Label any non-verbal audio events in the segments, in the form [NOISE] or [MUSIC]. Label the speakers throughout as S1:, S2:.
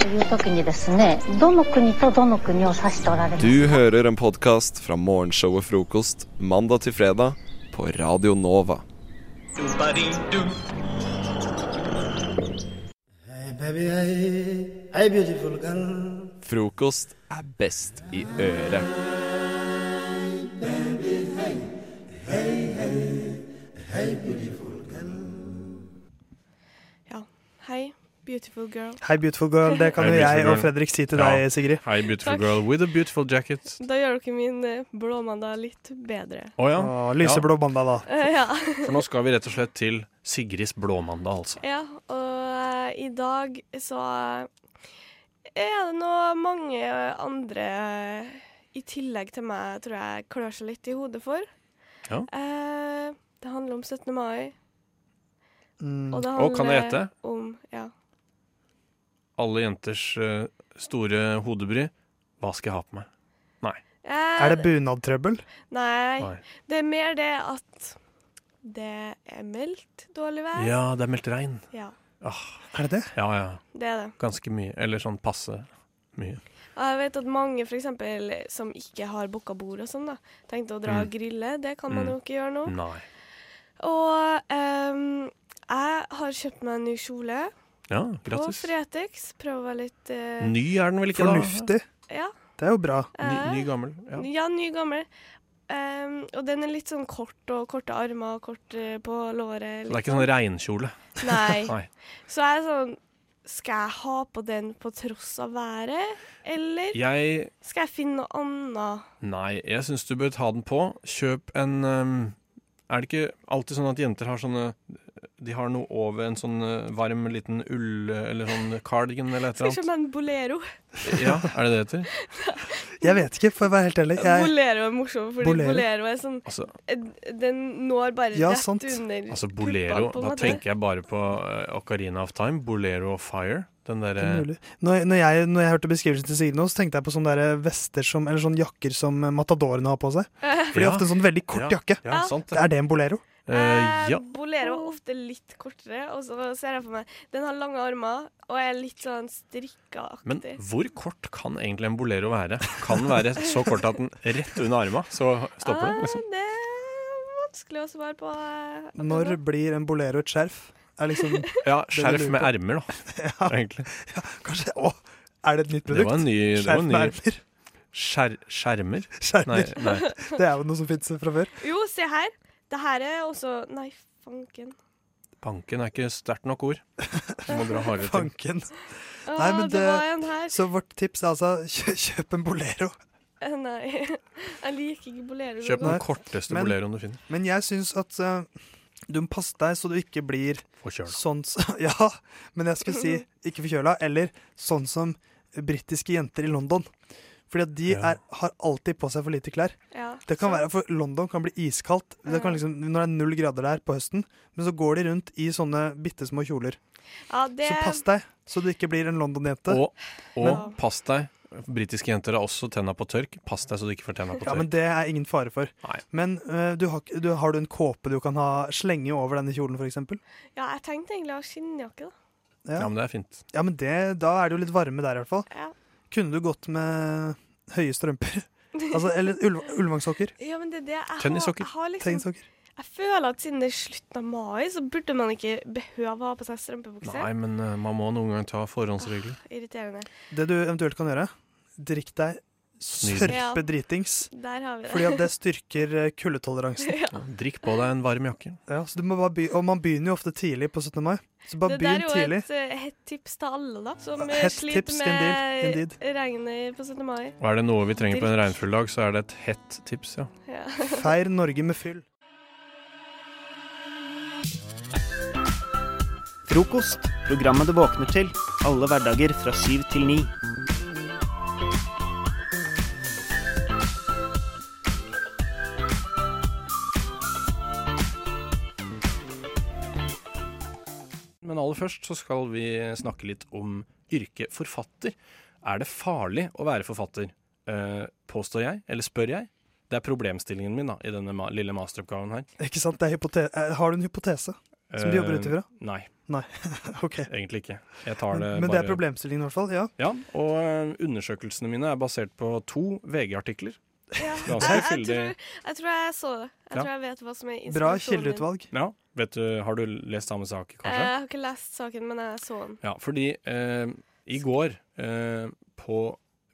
S1: という時にですねどの国とどの国を指しておられます
S2: Du hører en podkast fra morgenshowet Frokost mandag til fredag på Radio Nova.
S3: Baby, hey, hey, beautiful girl.
S2: Frokost er best i øret.
S4: Ja. Hei, beautiful girl.
S5: Hei, beautiful girl. Det kan
S6: Hei,
S5: jo
S6: beautiful
S5: jeg og
S6: girl.
S5: Fredrik si til
S6: Ja.
S5: deg, Sigrid.
S6: Hei, beautiful
S4: Takk.
S6: girl with a beautiful jacket.
S4: Da gjør dere min eh, blåmandag litt bedre. [LAUGHS]
S6: Å ja.
S5: Og lyseblå mandag, da.
S4: Eh, ja.
S6: Ja, Ah, for nå skal vi rett og slett til Sigrids blåmandag, altså.
S4: ja. Og eh, i dag så eh, er det nå mange eh, andre eh, i tillegg til meg, tror jeg, klør seg litt i hodet for.
S6: Ja.
S4: Eh, det handler om 17. mai.
S5: Mm.
S4: Og det handler
S6: Og kan jeg gjette?
S4: om Ja.
S6: Alle jenters eh, store hodebry. Hva skal jeg ha på meg?
S4: Eh,
S5: Er det bunadtrøbbel?
S4: Nei.
S6: Nei.
S4: Det er mer det at det er meldt dårlig vær.
S6: Ja, det er meldt regn.
S4: Ja,
S5: Er det det?
S6: Ja, ja.
S4: det er det.
S6: Ganske mye. Eller sånn passe mye.
S4: Og jeg vet at mange for eksempel, som ikke har booka bord og sånn, da, tenkte å dra og grille. Det kan man
S6: Mm.
S4: jo ikke gjøre nå.
S6: Nei.
S4: Og ehm, jeg har kjøpt meg en ny kjole
S6: Ja,
S4: på
S6: grattis.
S4: Fretex. Prøver å være litt eh,
S6: Ny er den vel ikke, da?
S5: Fornuftig.
S4: ja,
S5: Det er jo bra.
S6: Ny,
S4: eh,
S6: ny gammel. Ja.
S4: ja, ny gammel. Ehm, og den er litt sånn kort og korte armer og kort eh, på låret.
S6: Det er ikke sånn regnkjole.
S4: Nei.
S6: [LAUGHS] Nei.
S4: Så jeg er sånn Skal jeg ha på den på tross av været, eller
S6: Jeg
S4: skal jeg finne noe annet?
S6: Nei, jeg syns du bør ta den på. Kjøp en um, Er det ikke alltid sånn at jenter har sånne De har noe over en sånn uh, varm liten ull Eller sånn cardigan eller et
S4: Skal jeg
S6: eller
S4: kjøpe meg en bolero?
S6: annet? Ja, er det det det heter?
S5: Jeg vet ikke, for å være helt ærlig. Jeg,
S4: Bolero er morsom, fordi
S5: Bolero?
S4: bolero, er sånn
S6: Altså,
S4: eh, Den når bare
S5: Ja,
S4: rett
S5: sant.
S4: under
S6: altså
S4: puppene,
S6: Bolero.
S4: på en
S6: Da
S4: måte.
S6: tenker jeg bare på uh, Ocarina of Time, Bolero of Fire. Den
S5: det
S6: derre
S5: er mulig. når, jeg- når, jeg, når jeg hørte beskrivelsen til Sigrid nå, så tenkte jeg på sånne der eh, vester som, eller sånne jakker som eh, matadorene har på seg. For de har ofte en sånn veldig kort jakke.
S6: Ja, sant det.
S5: Er det en bolero?
S6: Eh, ja.
S4: Eh, Bolero er ofte litt kortere, og så ser jeg for meg Den har lange armer og er litt sånn
S6: Men
S4: strikkeaktig.
S6: hvor kort kan egentlig en bolero være? Kan den være så kort at den rett under arma, så stopper den? Liksom.
S4: Ah, det er vanskelig å svare på. eh, akkurat
S5: Når
S4: nå.
S5: blir en bolero et skjerf? Er liksom,
S4: Ah.
S5: [LAUGHS]
S6: Ja,
S5: Det lurer
S6: skjerf
S5: jeg
S6: med
S5: på.
S6: ermer, da. Egentlig.
S5: kanskje, å, er det et nytt
S6: Det var
S5: produkt?
S6: en ny, det var
S5: Skjerf
S6: en
S5: med
S6: ny
S5: ermer?
S6: skjer, skjermer. Nei,
S5: Skjermer.
S6: nei.
S5: Det er jo noe som fins fra før.
S4: Jo, se her. Det her er også Nei, fanken.
S6: Banken er ikke sterkt nok ord. Du må dra hardere til.
S5: Fanken.
S4: Å,
S5: Nei, men
S4: det...
S5: det-
S4: var en her.
S5: Så vårt tips er altså kjø, kjøp en bolero.
S4: Eh, [LAUGHS] Nei, jeg liker ikke bolero.
S6: Kjøp
S5: Nei.
S6: den korteste
S5: Men-
S6: boleroen du finner.
S5: Men jeg syns at eh, du må passe deg så du ikke blir
S6: Og kjør den.
S5: sånn som [LAUGHS] Ja, men jeg skulle si ikke forkjøla, eller sånn som britiske jenter i London. Fordi at de
S6: Ja.
S5: er, har alltid på seg for lite klær.
S4: Ja,
S5: Det kan
S4: så-
S5: være, for London kan bli iskaldt det kan liksom, når det er null grader der på høsten. Men så går de rundt i sånne bitte små kjoler.
S4: ja, det,
S5: Så pass deg, så du ikke blir en London-jente.
S6: Og, og
S4: Men-
S6: pass deg. Britiske jenter har også tenna på tørk. Pass deg så du ikke får tenna på
S5: Ja,
S6: tørk.
S5: men det er ingen fare for.
S6: Nei.
S5: Men eh, du har, ikke- du, har du en kåpe du kan ha, slenge over denne kjolen, for eksempel?
S4: ja, jeg tenkte egentlig å ha skinnjakke, da.
S5: ja.
S6: Ja, men det er fint.
S5: Ja, men det, da er det jo litt varme der, i hvert fall.
S4: Ja,
S5: Kunne du gått med
S4: [LAUGHS]
S5: høye strømper? Altså, eller ulv, ulvangssokker?
S4: ja men det er det jeg har.
S6: Tennissokker.
S4: Jeg, har liksom,
S5: Tegnesokker?
S4: jeg føler at siden det er slutten av mai, så burde man ikke behøve å ha på seg strømpebukse.
S6: Nei, men eh, man må noen gang ta forhåndsregler.
S4: Irriterende.
S5: Det du eventuelt kan gjøre, drikk deg sørpedritings.
S4: Der har vi det.
S5: Fordi at det styrker eh,
S4: [LAUGHS]
S5: kuldetoleransen.
S6: Ja, Drikk på deg en varm jakke.
S5: Ja, så du må bare by og man begynner jo ofte tidlig på 17. mai. Så bare
S4: det der
S5: begynn
S4: er jo
S5: tidlig.
S4: et eh, hett tips til alle, da, som eh,
S5: Hett
S4: sliter
S5: tips,
S4: med
S5: indeed,
S4: regnet på 17. mai.
S6: Og er det noe vi trenger på en
S4: Drikk.
S6: regnfull dag, så er det et hett tips, ja.
S5: [LAUGHS]
S4: Ja. [LAUGHS]
S5: Feir Norge med fyll.
S7: Frokost. Programmet du våkner til. Alle hverdager fra syv til ni.
S6: Men aller først så skal vi snakke litt om yrket forfatter. Er det farlig å være forfatter? Eh, påstår jeg, eller spør jeg? Det er problemstillingen min da, i denne ma lille masteroppgaven her.
S5: Ikke sant? Det er hypote eh, har du en hypotese? Som du jobber ut ifra?
S6: Eh, Nei,
S5: Ok.
S6: egentlig ikke. Jeg tar det
S5: Men, men det
S6: bare
S5: er problemstillingen i hvert fall. Ja.
S6: Ja, og eh, undersøkelsene mine er basert på to VG-artikler.
S4: Ja.
S6: Ganske
S4: Jeg, jeg,
S6: fyldig.
S4: tror, jeg tror jeg så det. Jeg
S6: Ja.
S4: tror jeg vet hva som er
S5: Bra
S4: inspirasjonen min.
S5: kildeutvalg.
S6: Ja, vet du, Har du lest samme sak,
S4: Eh,
S6: kanskje?
S4: Jeg har ikke lest saken, men jeg så den.
S6: Ja, fordi eh, i går eh, på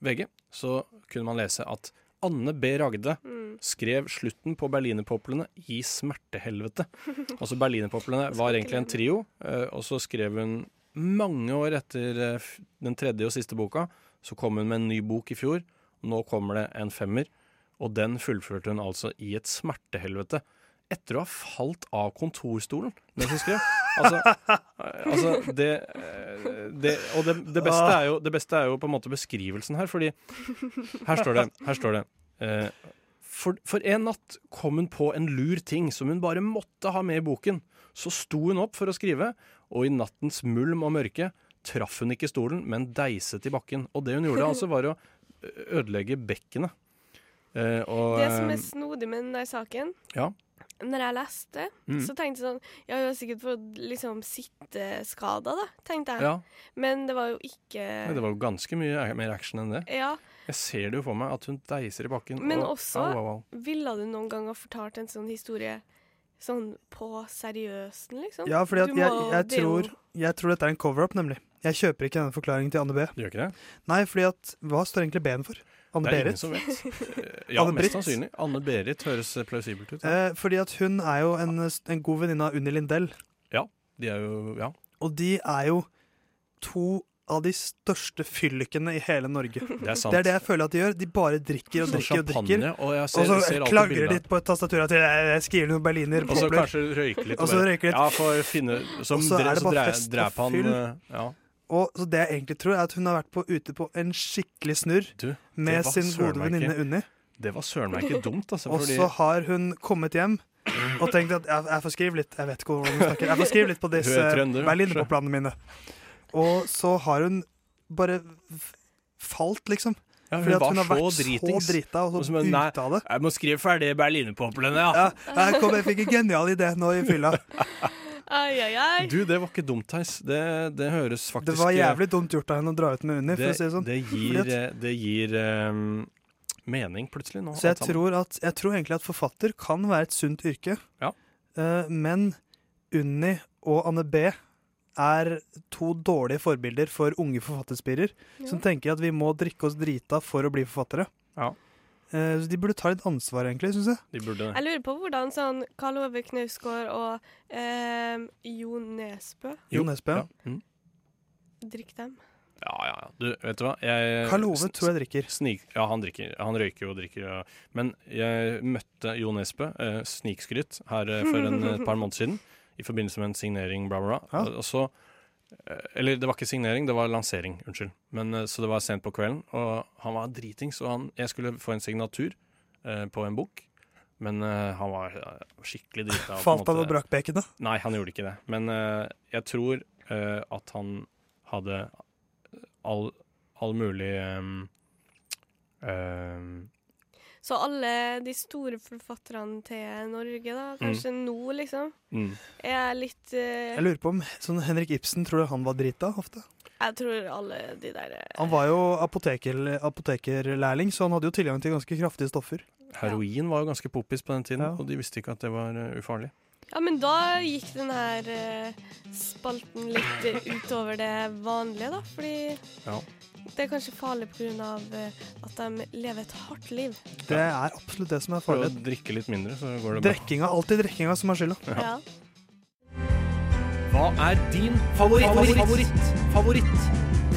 S6: VG så kunne man lese at Anne B. Ragde
S4: Mm.
S6: skrev slutten på berlinerpoplene i smertehelvete. Altså Berlinerpoplene var egentlig en trio, eh, og så skrev hun mange år etter eh, f- den tredje og siste boka, så kom hun med en ny bok i fjor. Nå kommer det en femmer, og den fullførte hun altså i et smertehelvete. Etter å ha falt av kontorstolen mens hun skrev. Altså, eh, altså det, eh, det Og det, det, beste er jo, det beste er jo på en måte beskrivelsen her, fordi her står det, her står det eh, for, for en natt kom hun på en lur ting som hun bare måtte ha med i boken. Så sto hun opp for å skrive, og i nattens mulm og mørke traff hun ikke stolen, men deiset i bakken. Og det hun gjorde, altså, var å ødelegge bekkenet. Eh, og,
S4: Det som
S6: eh,
S4: er snodig med den der saken
S6: Ja.
S4: Når jeg leste,
S6: Mm.
S4: så tenkte jeg sånn Ja, hun har sikkert fått liksom sitteskader, da, tenkte jeg.
S6: ja,
S4: Men det var jo ikke
S6: men det var jo ganske mye a- mer action enn det.
S4: Ja.
S6: Jeg ser det jo for meg at hun deiser i bakken.
S4: Men
S6: og,
S4: også-
S6: Au, au, au.
S4: Ville du noen gang ha fortalt en sånn historie sånn på seriøsen, liksom?
S5: Ja, fordi at
S4: Du
S5: jeg,
S4: må-
S5: jeg,
S4: det er jo-
S5: tror, jeg tror dette er en cover-up, nemlig. Jeg kjøper ikke denne forklaringen til Anne B.
S6: Det gjør ikke det?
S5: Nei, fordi at hva står egentlig B-en for? Anne
S6: Det er
S5: Berit?
S6: ingen som vet.
S5: [LAUGHS]
S6: Eh, Ja,
S5: Anne
S6: mest
S5: Britt.
S6: sannsynlig. Anne-Berit høres plausibelt ut.
S5: Eh, fordi at hun er jo en, en god venninne av Unni Lindell.
S6: De er jo Ja.
S5: Og de er jo to av de største fyllikene i hele Norge.
S6: Det er [LAUGHS] sant.
S5: Det er det jeg føler at de gjør. De bare drikker og
S6: Sånn
S5: drikker og drikker.
S6: champagne, og jeg ser,
S5: Og så
S6: ser alltid
S5: klagrer
S6: bilder.
S5: de på tastaturet at jeg jeg skriver noen berliner
S6: Og så
S5: popler.
S6: kanskje røyke litt.
S5: Og så
S6: bare-
S5: røyke litt.
S6: Ja, for å finne Som
S5: Og så er
S6: dre,
S5: det
S6: så
S5: bare
S6: dre,
S5: fest og
S6: dreper han
S5: fyll.
S6: eh, Ja.
S5: Og så det jeg egentlig tror, er at hun har vært på, ute på en skikkelig snurr
S6: Du,
S5: med
S6: var
S5: sin
S6: søren
S5: gode
S6: meg
S5: venninne
S6: ikke-
S5: Unni.
S6: Det var søren meg ikke dumt, altså.
S5: Og
S6: Fordi,
S5: så har hun kommet hjem og tenkt at jeg, jeg får skrive litt. Jeg vet ikke hvordan hun snakker. Jeg får skrive
S6: [LAUGHS]
S5: litt på disse
S6: Hun er trønder, ja.
S5: berlinerpoplanene mine. Og så har hun bare f- falt, liksom.
S6: ja, hun,
S5: Fordi at
S6: var
S5: hun har vært
S6: så dritings.
S5: så drita og
S6: Og så
S5: så
S6: bare, nei.
S5: ute av
S6: [LAUGHS]
S5: det.
S6: Jeg må skrive ferdig berlinerpoplene, ja.
S5: Ja, jeg, kom, jeg fikk en genial idé nå i fylla.
S4: Ai, ai, ai.
S6: Du, det var ikke dumt, Theis. Det, det høres [LAUGHS] faktisk eh,
S5: Det var jævlig dumt gjort av henne å dra ut med Unni, for å si det sånn.
S6: det
S5: Fordi
S6: gir,
S5: at-
S6: eh, det gir ehm, mening plutselig nå.
S5: Så jeg
S6: alt sammen.
S5: tror, at, jeg tror egentlig at forfatter kan være et sunt yrke.
S6: Ja.
S5: Eh, men Unni og Anne B er to dårlige forbilder for unge forfatterspirer som sånn tenker at vi må drikke oss drita for å bli forfattere.
S6: Ja.
S5: Eh, så de burde ta litt ansvar, egentlig, syns jeg.
S6: De burde
S4: Jeg lurer på hvordan sånn Karl Ove Knausgård og eh, Jo Nesbø
S6: Jo,
S5: Jon Espe.
S6: Ja. Mm.
S4: drikker dem.
S6: ja, ja, ja. Du, vet du hva? Jeg,
S5: Eh, Karl Ove tror jeg drikker.
S6: Snik, ja, han drikker. Han røyker jo og drikker. Ja. Men jeg møtte Jo Nesbø, eh, snikskryt, her eh, for en, et par måneder siden. I forbindelse med en signering, bla, bla, bla.
S5: Ja.
S6: Og- Og så eh, Eller det var ikke signering, det var lansering. Unnskyld. Men, eh, så det var sent på kvelden, og han var dritings. Og han, jeg skulle få en signatur eh, på en bok, men eh, han var eh, skikkelig drita. og på en
S5: Falt han
S6: måte-
S5: og brakk bekkenet?
S6: Nei, han gjorde ikke det. Men eh, jeg tror eh, at han hadde all, all mulig ehm, ehm,
S4: Så alle de store forfatterne til Norge, da, kanskje nå, liksom,
S6: mm.
S4: er litt eh,
S5: Jeg lurer på om sånn Henrik Ibsen tror du han var drita ofte?
S4: Jeg tror alle de der eh,
S5: Han var jo apoteker, apotekerlærling, så han hadde jo tilgang til ganske kraftige stoffer.
S6: Heroin var jo ganske poppis på den tiden,
S5: Ja.
S6: og de visste ikke at det var eh, ufarlig.
S4: Ja, men da gikk den her eh, spalten litt eh, utover det vanlige, da, fordi
S6: Ja.
S4: det er kanskje farlig pga. Uh, at de lever et hardt liv.
S5: Det er absolutt det som er
S6: Prøv å
S5: farlig.
S6: drikke litt mindre, så går det bra.
S5: Drekkinga, alltid altså, drekkinga som er skylda.
S4: Ja.
S6: Hva er din favoritt? Favoritt? Favoritt?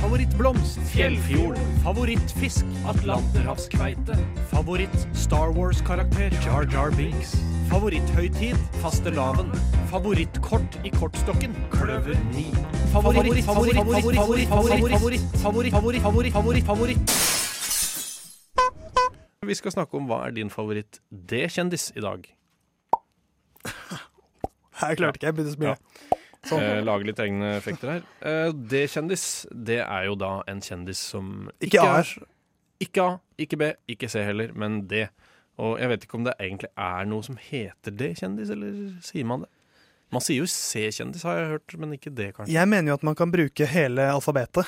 S6: Favorittblomst? Fjellfjord? Favorittfisk? Atlanterhavskveite? Favoritt Star Wars-karakter? Jar Jar Binks? Favoritthøytid? Fastelavn? Favorittkort i kortstokken? Kløver 9. Favoritt, favoritt, favoritt, favoritt, favoritt, favoritt, favoritt, favoritt, favoritt, favoritt, favoritt. Vi skal snakke om hva er din favoritt D-kjendis i dag.
S5: Jeg klarte ikke, jeg begynte å Sånn. smile.
S6: Eh, lage litt egne effekter her. Eh, det kjendis, det er jo da en kjendis som
S5: Ikke A.
S6: Ikke A, ikke B, ikke C heller, men D. Og jeg vet ikke om det egentlig er noe som heter D-kjendis, eller sier man det? Man sier jo C-kjendis, har jeg hørt, men ikke det, kanskje.
S5: Jeg mener jo at man kan bruke hele alfabetet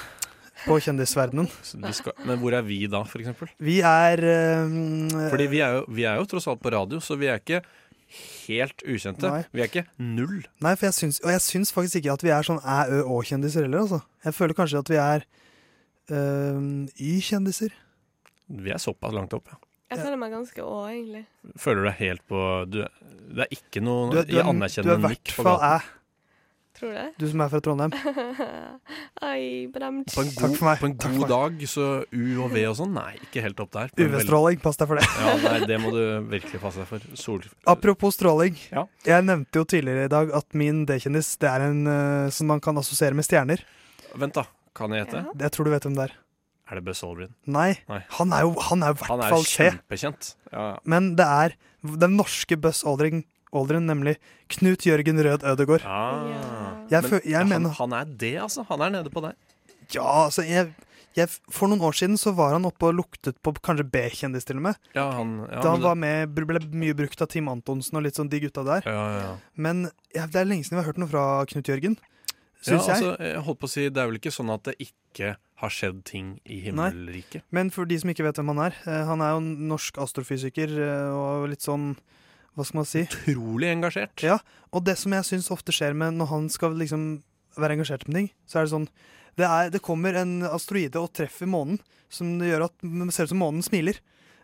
S5: på kjendisverdenen.
S6: Så vi skal, men hvor er vi da, for eksempel?
S5: Vi er eh,
S6: Fordi vi er, jo, vi er jo tross alt på radio, så vi er ikke helt ukjente.
S5: Nei.
S6: Vi er ikke null.
S5: Nei, for jeg syns, og jeg syns faktisk ikke at vi er sånn æ, ø, å-kjendiser heller, altså. Jeg føler kanskje at vi er eh, y-kjendiser.
S6: Vi er såpass langt opp, ja.
S4: Jeg føler meg ganske å, egentlig.
S6: Føler du deg helt på du, Det er ikke noe
S5: Du, er- du, er- du
S6: anerkjennende
S5: er i
S6: nikk
S5: hvert
S6: på
S5: fall
S6: gaten.
S5: æ,
S4: Tror du det? [LAUGHS]
S5: du som er fra Trondheim.
S4: Ai, bremt.
S6: På en
S5: Takk
S6: god,
S5: for meg.
S6: på en
S5: Takk
S6: god
S5: for meg.
S6: dag, så U og V og sånn, nei, ikke helt opp der. På en veldig-
S5: UV-stråling, pass deg for det.
S6: Ja, nei, det må du virkelig passe deg for. Sol...
S5: Apropos stråling.
S6: Ja.
S5: Jeg nevnte jo tidligere i dag at min D-kjendis det er en eh, som man kan assosiere med stjerner.
S6: Vent, da. Kan jeg hete?
S4: Ja.
S5: Jeg tror du vet hvem det er.
S6: Er det Buzz Aldrin?
S5: Nei.
S6: Nei.
S5: Han er jo han er
S6: Han
S5: i hvert
S6: er jo
S5: fall C.
S6: kjempekjent. Ja, ja.
S5: Men det er den norske Buzz Aldrin, Aldrin nemlig Knut Jørgen Rød Ødegård.
S6: Ah.
S4: Ja.
S5: Jeg
S6: Men
S5: fø- jeg
S6: han,
S5: mener-
S6: han er det, altså. Han er nede på deg.
S5: Ja, altså jeg, jeg, For noen år siden så var han oppe og luktet på kanskje B-kjendis, til og med.
S6: Ja, han, ja,
S5: da
S6: men
S5: han var med, ble mye brukt av Team Antonsen og litt sånn de gutta der.
S6: det- ja, ja, ja.
S5: Men ja, det er lenge siden vi har hørt noe fra Knut Jørgen,
S6: Ja,
S5: syns jeg.
S6: altså, jeg holdt på å si, Det er vel ikke sånn at det ikke har skjedd ting i himmelriket?
S5: Men for de som ikke vet hvem han er, eh, han er jo en norsk astrofysiker eh, og litt sånn Hva skal man si?
S6: Utrolig engasjert.
S5: Ja. Og det som jeg syns ofte skjer med når han skal liksom være engasjert med ting, så er det sånn Det, er, det kommer en asteroide og treffer månen, som det gjør at det ser ut som månen smiler.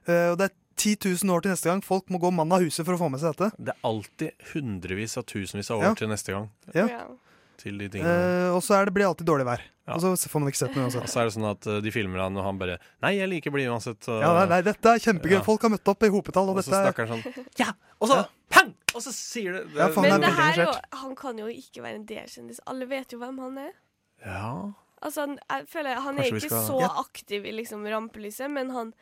S5: Eh, og det er 10 000 år til neste gang. Folk må gå mann av huset for å få med seg dette.
S6: Det er alltid hundrevis av tusenvis av år
S5: Ja.
S6: til neste gang.
S5: Ja.
S6: Til de tingene.
S5: Eh, og så er det, blir det alltid dårlig vær.
S6: Ja.
S5: Og så får man ikke sett noe uansett.
S6: og [LAUGHS] så er det sånn at eh, de filmer han, og han bare 'Nei, jeg liker blid uansett'. Og,
S5: Ja, nei, nei, dette er kjempegøy.
S6: Ja.
S5: Folk har møtt opp i hopetall, og
S6: og så
S5: dette er
S6: snakker han
S5: [LAUGHS]
S6: sånn. Ja! Og så pang! Og så sier det, det
S5: Ja, for han
S4: Men
S5: er
S4: det
S5: veldig
S4: her er jo,
S5: engasjert.
S4: han kan jo ikke være en D-kjendis. Alle vet jo hvem han er.
S6: ja.
S4: Altså, han- jeg føler Han
S6: Kanskje vi
S4: er ikke
S6: skal-
S4: så
S5: Ja.
S4: aktiv i liksom rampelyset, men han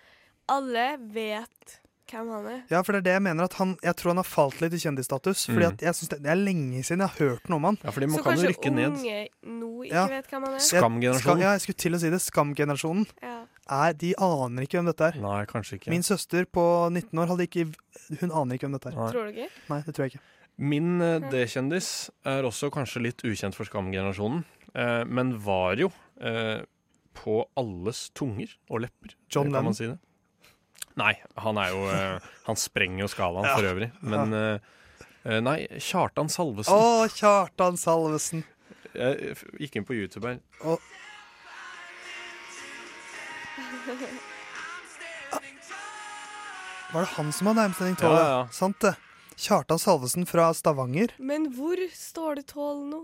S4: Alle vet hvem han er.
S5: Ja, for det er det jeg mener. at han, Jeg tror han har falt litt i kjendisstatus. Fordi
S6: Mm.
S5: at jeg synes det, det er lenge siden jeg har hørt noe om han.
S6: ja, fordi man
S4: så
S6: kan jo
S4: kanskje
S6: rykke ned.
S4: unge nå ikke
S5: Ja.
S4: vet hvem han er.
S5: Jeg-
S6: Skamgenerasjonen.
S5: Skam, ja, jeg skulle til å si det. Skamgenerasjonen.
S4: Ja.
S5: Er, de aner ikke hvem dette er.
S6: Nei, kanskje ikke.
S5: Min søster på 19 år hadde ikke Hun aner ikke hvem dette er.
S6: Nei.
S4: Tror du ikke?
S5: Nei, det tror jeg ikke.
S6: Min eh, D-kjendis er også kanskje litt ukjent for skamgenerasjonen, eh, men var jo eh, på alles tunger og lepper.
S5: John
S6: kan
S5: Lennon.
S6: man si det? Nei, han er jo eh, Han sprenger jo skalaen for øvrig. Men eh, eh, nei, Kjartan
S5: Å,
S6: Salvesen.
S5: Kjartan Salvesen!
S6: Jeg f- gikk inn på YouTube her.
S5: Var det han som hadde Heimsending 12?
S6: Ja, ja, ja.
S5: Sant det. Kjartan Salvesen fra Stavanger.
S4: [LAUGHS] Men hvor står det tål nå?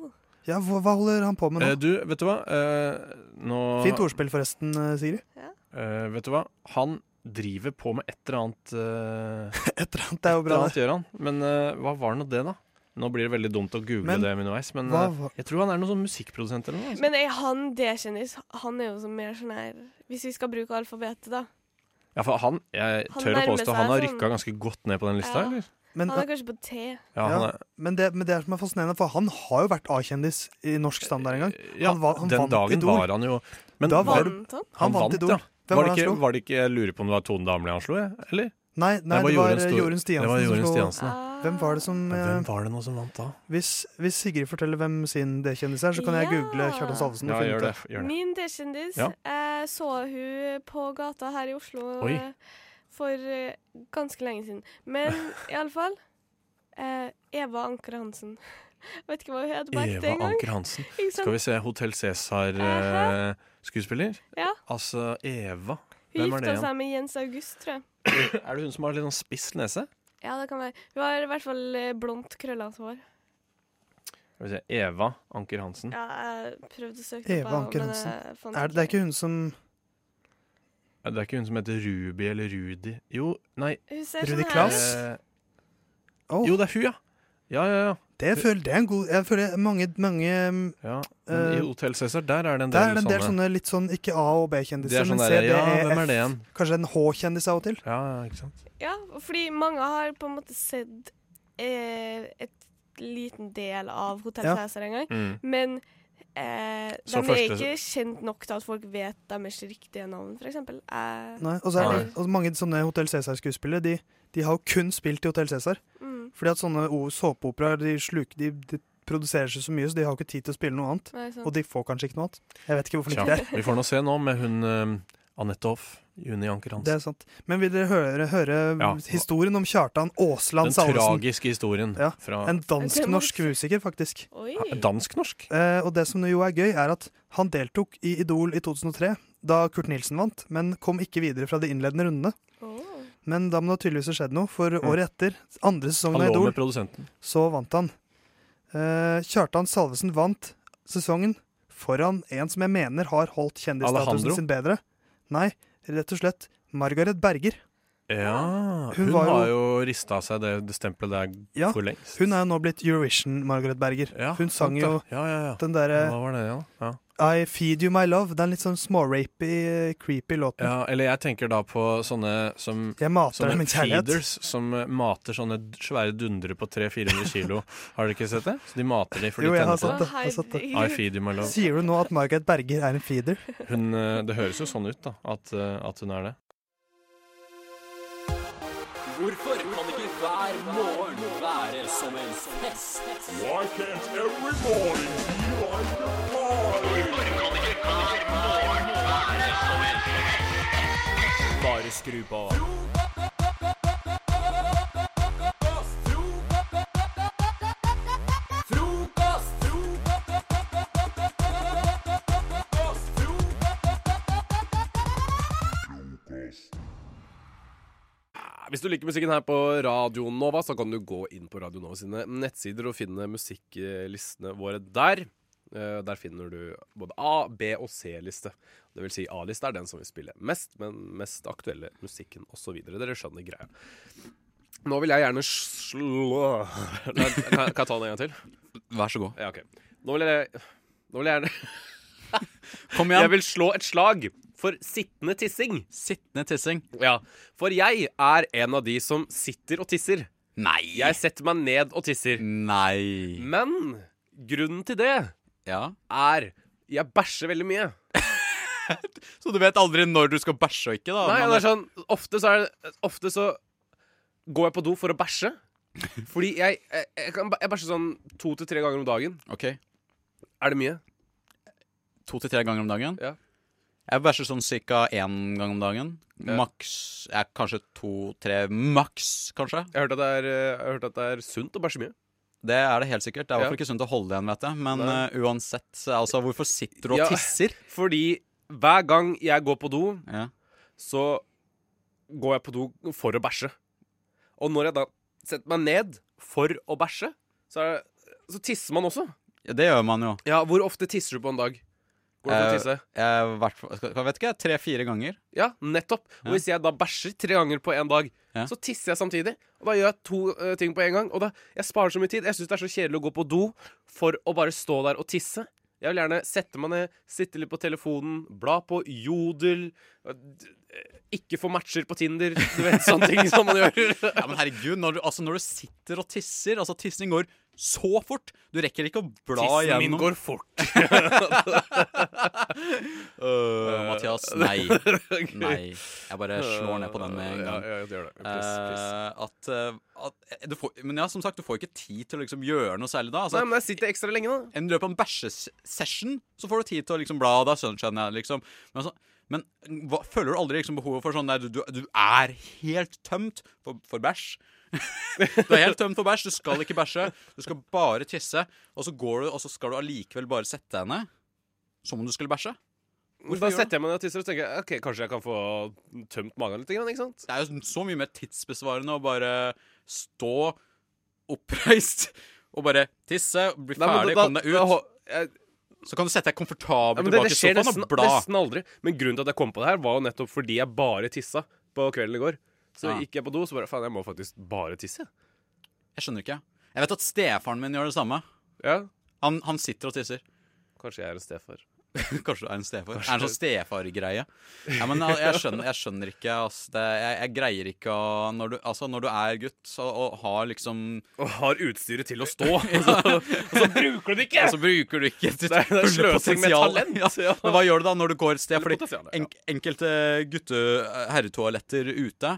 S5: Ja, hva, hva holder han på med nå?
S6: Eh, du, vet du hva? Eh, nå
S5: Fint ordspill forresten, eh,
S6: [LAUGHS]
S5: Sigrid.
S6: eh, Vet du hva? Han driver på med et eller annet eh,
S5: Et eller annet, det er jo
S6: Det
S5: bra.
S6: annet gjør han. Men eh, hva var nå det, da? Nå blir det veldig dumt å google
S5: Men-
S6: det underveis, men
S5: hva
S6: eh,
S5: var-
S6: jeg tror han er noen sånn musikkprodusent eller noe. altså.
S4: Men er han D-kjendis? Han er jo så mer sånn her Hvis vi skal bruke alfabetet, da.
S6: Ja, for han, jeg
S4: Han
S6: tør å
S4: nærmer
S6: påstå
S4: seg
S6: han har
S4: sånn-
S6: rykka ganske godt ned på den lista,
S4: Ja.
S6: eller?
S5: Men,
S4: Han er kanskje på T.
S6: Ja,
S5: Ja.
S6: han er,
S5: men, det, men det som er fascinerende, for han har jo vært A-kjendis i norsk standard en gang.
S6: ja
S5: Han var- han
S6: den
S5: vant
S6: dagen
S5: Idol.
S6: var han jo Men
S5: Da var
S6: var,
S5: du-
S4: Vant han?
S5: Han, vant Idol. Hvem
S6: Var det,
S5: han
S6: ikke,
S5: slo?
S6: var det ikke, Jeg lurer på om det var Tone Damli han slo, jeg? eller?
S5: Nei, nei, det var, eh,
S6: Sto-
S5: Jorunn Stiansen.
S6: Det var
S5: som
S6: Jorunn
S5: slo-
S6: Stiansen, ja.
S4: Ah.
S5: Hvem var det som
S6: Men
S5: eh,
S6: Hvem var det nå som vant da?
S5: hvis, hvis Sigrid forteller hvem sin D-kjendis er, så kan jeg
S4: Ja.
S5: google Kjartan Salvesen.
S6: Ja,
S5: og finne ut
S6: gjør det.
S5: av.
S6: Gjør det.
S4: Min D-kjendis.
S6: Ja.
S4: Jeg så hun på gata her i Oslo
S6: Oi.
S4: eh, for eh, ganske lenge siden.
S6: [LAUGHS]
S4: Men iallfall eh, Eva Anker Hansen. [LAUGHS] Vet ikke hva hun het bak
S6: Eva
S4: den gang.
S6: Anker Hansen.
S4: Ikke sant?
S6: Skal vi se eh, Hotell Cæsar-skuespiller?
S4: Ja.
S6: Altså Eva.
S4: Hun
S6: Hvem er det
S4: gifta
S6: igjen?
S4: seg med Jens August, tror jeg.
S6: Er det hun som har litt sånn spiss nese?
S4: Ja, det kan være. Hun har i hvert fall eh, blondt, krøllete hår.
S6: Skal vi se, Eva Anker Hansen.
S4: Ja, jeg prøvde å søke
S5: Eva
S4: opp, jeg,
S5: Anker
S4: men
S5: Hansen.
S4: jeg fant
S5: Er det, det er ikke hun som
S6: Ja, Det er ikke hun som heter Ruby eller Rudi Jo, nei
S4: Hun ser
S5: Rudi
S4: sånn her
S5: Klaus?
S4: ut.
S6: eh,
S5: Å,
S6: Jo, det er hun, ja! Ja, ja, ja.
S5: det, føler, det er en god Jeg føler mange, mange mm,
S6: ja. Men
S5: Eh,
S6: I Hotell Cæsar der er det en del,
S5: Der er det en del
S6: sånne.
S5: sånne litt sånn ikke A- og
S6: Det
S5: B-kjendiser,
S6: er sånn
S5: men C,
S6: der,
S5: D,
S6: ja,
S5: E,
S6: hvem er det
S5: F.
S6: igjen?
S5: Kanskje en H-kjendis av og til.
S6: Ja, ja, ikke sant?
S4: Ja, fordi mange har på en måte sett eh, et liten del av Hotell
S5: Ja.
S4: Cæsar en gang,
S6: Mm.
S4: men eh, de
S6: Så
S4: er
S6: første-
S4: ikke kjent nok til at folk vet deres riktige navn, for eksempel. Eh,
S5: Nei, og så er det
S4: Nei.
S5: og mange sånne Hotell Cæsar-skuespillere. De, de har jo kun spilt i Hotell Cæsar.
S4: mm.
S5: Fordi at sånne o- såpeoperaer de sluker de, de produserer seg så mye, så de har ikke tid til å spille noe annet.
S4: Nei, sant.
S5: Og de får kanskje ikke noe annet. Jeg vet ikke hvorfor de
S6: Tja,
S5: ikke det er.
S6: vi får nå se nå med hun eh, Anette Hoff, Juni Anker
S5: Det
S6: Hansen.
S5: er sant. Men vil dere høre, høre
S6: Ja.
S5: historien om Kjartan Aasland
S6: Den
S5: Salvesen?
S6: tragiske historien
S5: Ja,
S6: fra
S5: En dansk-norsk musiker, faktisk.
S4: Oi.
S6: Ja, Dansk-norsk?
S5: Eh, og det som jo er gøy, er at han deltok i Idol i 2003, da Kurt Nilsen vant, men kom ikke videre fra de innledende rundene.
S4: Åh.
S5: Men da må det tydeligvis ha skjedd noe,
S6: Mm.
S5: for året etter, andre sesongen
S6: Han
S5: av
S6: lå
S5: Idol,
S6: med produsenten.
S5: så vant han. Eh, Kjartan Salvesen vant sesongen foran en som jeg mener har holdt
S6: Alejandro?
S5: kjendisstatusen sin bedre. Nei, rett og slett Margaret Berger.
S6: Ja,
S5: Hun
S6: hun,
S5: var
S6: har jo rista av seg det, det stempelet der
S5: Ja,
S6: for lengst.
S5: Hun er jo nå blitt Eurovision-Margaret Berger.
S6: Ja,
S5: Hun sang
S6: sant
S5: jo
S6: det. Ja, ja, ja.
S5: den derre
S6: Hva var det, ja? ja?
S5: I Feed You My Love. Den litt sånn smårapy, creepy låten.
S6: Ja, eller jeg tenker da på sånne som
S5: Jeg mater deg
S6: Sånne
S5: med kjærlighet.
S6: feeders som eh, mater sånne d- svære dundere på 300-400 kilo. Har dere ikke sett det? Så de mater de, for de
S5: Jo, jeg har
S6: tenner på
S5: sett
S6: det.
S5: det. Jeg har sett det.
S6: I feed you my love.
S5: Sier du nå at Margaret Berger er en feeder?
S6: Hun, eh, det høres jo sånn ut, da. At, eh, at hun er det.
S8: Hvorfor kan ikke hver morgen være som en fest? Why can't every morning be like a party? Hvorfor kan ikke hver morgen være som en fest? Bare skru på.
S2: Hvis du liker musikken her på Radio Nova, så kan du gå inn på Radio Nova sine nettsider og finne musikklistene våre der. Eh, Der finner du både A-, B- og C-liste. Det vil si A-liste er den som vil spille mest, men mest aktuelle musikken osv. Dere skjønner greia. Nå vil jeg gjerne slå Nei, Kan kan jeg ta den en gang til?
S9: Vær så god.
S2: Ja, OK. Nå vil jeg Nå vil jeg gjerne
S9: Kom
S2: Jeg
S9: igjen.
S2: vil slå et slag for sittende tissing.
S9: Sittende tissing.
S2: Ja. For jeg er en av de som sitter og tisser.
S9: Nei.
S2: Jeg setter meg ned og tisser.
S9: Nei.
S2: Men grunnen til det
S9: Ja. Ah,
S2: er jeg bæsjer veldig mye.
S9: Så du vet aldri når du skal bæsje og ikke, da?
S2: Nei,
S9: men-
S2: det er sånn, ofte så, er det, ofte så går jeg på do for å bæsje. Fordi jeg, jeg, jeg, kan, bæ- jeg bæsjer sånn to til tre ganger om dagen.
S9: Ok,
S2: Er det mye?
S9: To til tre ganger om dagen?
S2: Ja.
S9: Jeg bæsjer sånn ca. én gang om dagen.
S2: Ja.
S9: Maks ja, kanskje to-tre Maks, kanskje.
S2: Jeg har hørt at det er, eh, jeg har hørt at det er sunt å bæsje mye.
S9: Det er det helt sikkert. Det er i hvert
S2: Ja.
S9: fall ikke sunt å holde igjen, vet jeg. Men
S2: Nei.
S9: eh, uansett, altså, hvorfor sitter du og
S2: Ja.
S9: tisser?
S2: Fordi hver gang jeg går på do,
S9: Ja.
S2: så går jeg på do for å bæsje. Og når jeg da setter meg ned for å bæsje, så, er det, så tisser man også.
S9: Ja, Det gjør man jo.
S2: Ja, Hvor ofte tisser du på en dag? Går du på
S9: Eh,
S2: å tisse?
S9: Jeg, hvert fall- jeg vet ikke, tre-fire ganger.
S2: Ja, nettopp.
S9: Ja.
S2: Og hvis jeg da bæsjer tre ganger på en dag,
S9: Ja.
S2: så tisser jeg samtidig. Og da gjør jeg to eh, ting på en gang. Og da, Jeg sparer så mye tid. Jeg syns det er så kjedelig å gå på do for å bare stå der og tisse. Jeg vil gjerne sette meg ned, sitte litt på telefonen, bla på Jodel. eh, d- eh, Ikke få matcher på Tinder. Du vet, sånne ting som man gjør.
S9: [LAUGHS] Ja, men herregud, når du, altså, når du sitter og tisser Altså, tissing går så fort! Du rekker ikke å bla
S2: Tissen min
S9: gjennom [LAUGHS]
S2: går fort. [LAUGHS]
S9: Øh, Mathias, [LAUGHS] nei. Nei. Jeg bare slår ned på den med en
S2: Ja,
S9: gang.
S2: ja, det gjør det. Please, please.
S9: Eh, at, eh, at du får, Men ja, som sagt, du får ikke tid til å liksom gjøre noe særlig da.
S2: Nei,
S9: Altså,
S2: men jeg sitter ekstra lenge, da.
S9: I løpet av en bæsjesession så får du tid til å liksom bla, da skjønner skjønner jeg liksom. Men, altså, men hva, føler du aldri liksom behovet for sånn der du, du, du er helt tømt for, for bæsj? [LAUGHS] du er helt tømt for bæsj, du skal ikke bæsje, du skal bare tisse. Og så går du, og så skal du allikevel bare sette deg ned som om du skulle bæsje. Hvorfor
S2: Da
S9: gjør du
S2: setter jeg meg ned og tisser og tenker jeg, ok, kanskje jeg kan få tømt magen litt. Ikke sant?
S9: Det er jo sånn, så mye mer tidsbesvarende å bare stå oppreist og bare tisse, bli
S2: Nei, men
S9: ferdig,
S2: da-
S9: komme deg
S2: da-
S9: ut.
S2: jeg,
S9: Så kan du sette deg
S2: Ja,
S9: komfortabelt
S2: men det,
S9: tilbake
S2: det
S9: i
S2: skjer
S9: sofaen
S2: nesten,
S9: og bla.
S2: nesten aldri. Men grunnen til at jeg kom på det her, var jo nettopp fordi jeg bare tissa på kvelden i går. Så
S9: Ja.
S2: gikk jeg på do, så bare faen, jeg må faktisk bare tisse.
S9: Jeg skjønner ikke. Jeg vet at stefaren min gjør det samme.
S2: Ja,
S9: Han, han sitter og tisser. [LAUGHS]
S2: Kanskje jeg er en stefar.
S9: Kanskje du er en stefar? Er det en sånn stefargreie? Ja, men jeg, jeg, skjønner, jeg skjønner ikke, ass. Det, jeg, jeg greier ikke å når du, altså, når du er gutt og, og har liksom
S2: Og har utstyret til å [LAUGHS] stå, og så, og så bruker du det
S9: Og
S2: ikke!
S9: så altså, bruker du ikke ditt
S2: Det er- det er
S9: fulle
S2: sløsing med
S9: potensial.
S2: talent,
S9: Ja.
S2: ja.
S9: Men hva gjør du da når du går et sted?
S2: Fulle
S9: Fordi
S2: potensial, ja.
S9: enk enkelte gutte eh, herretoaletter ute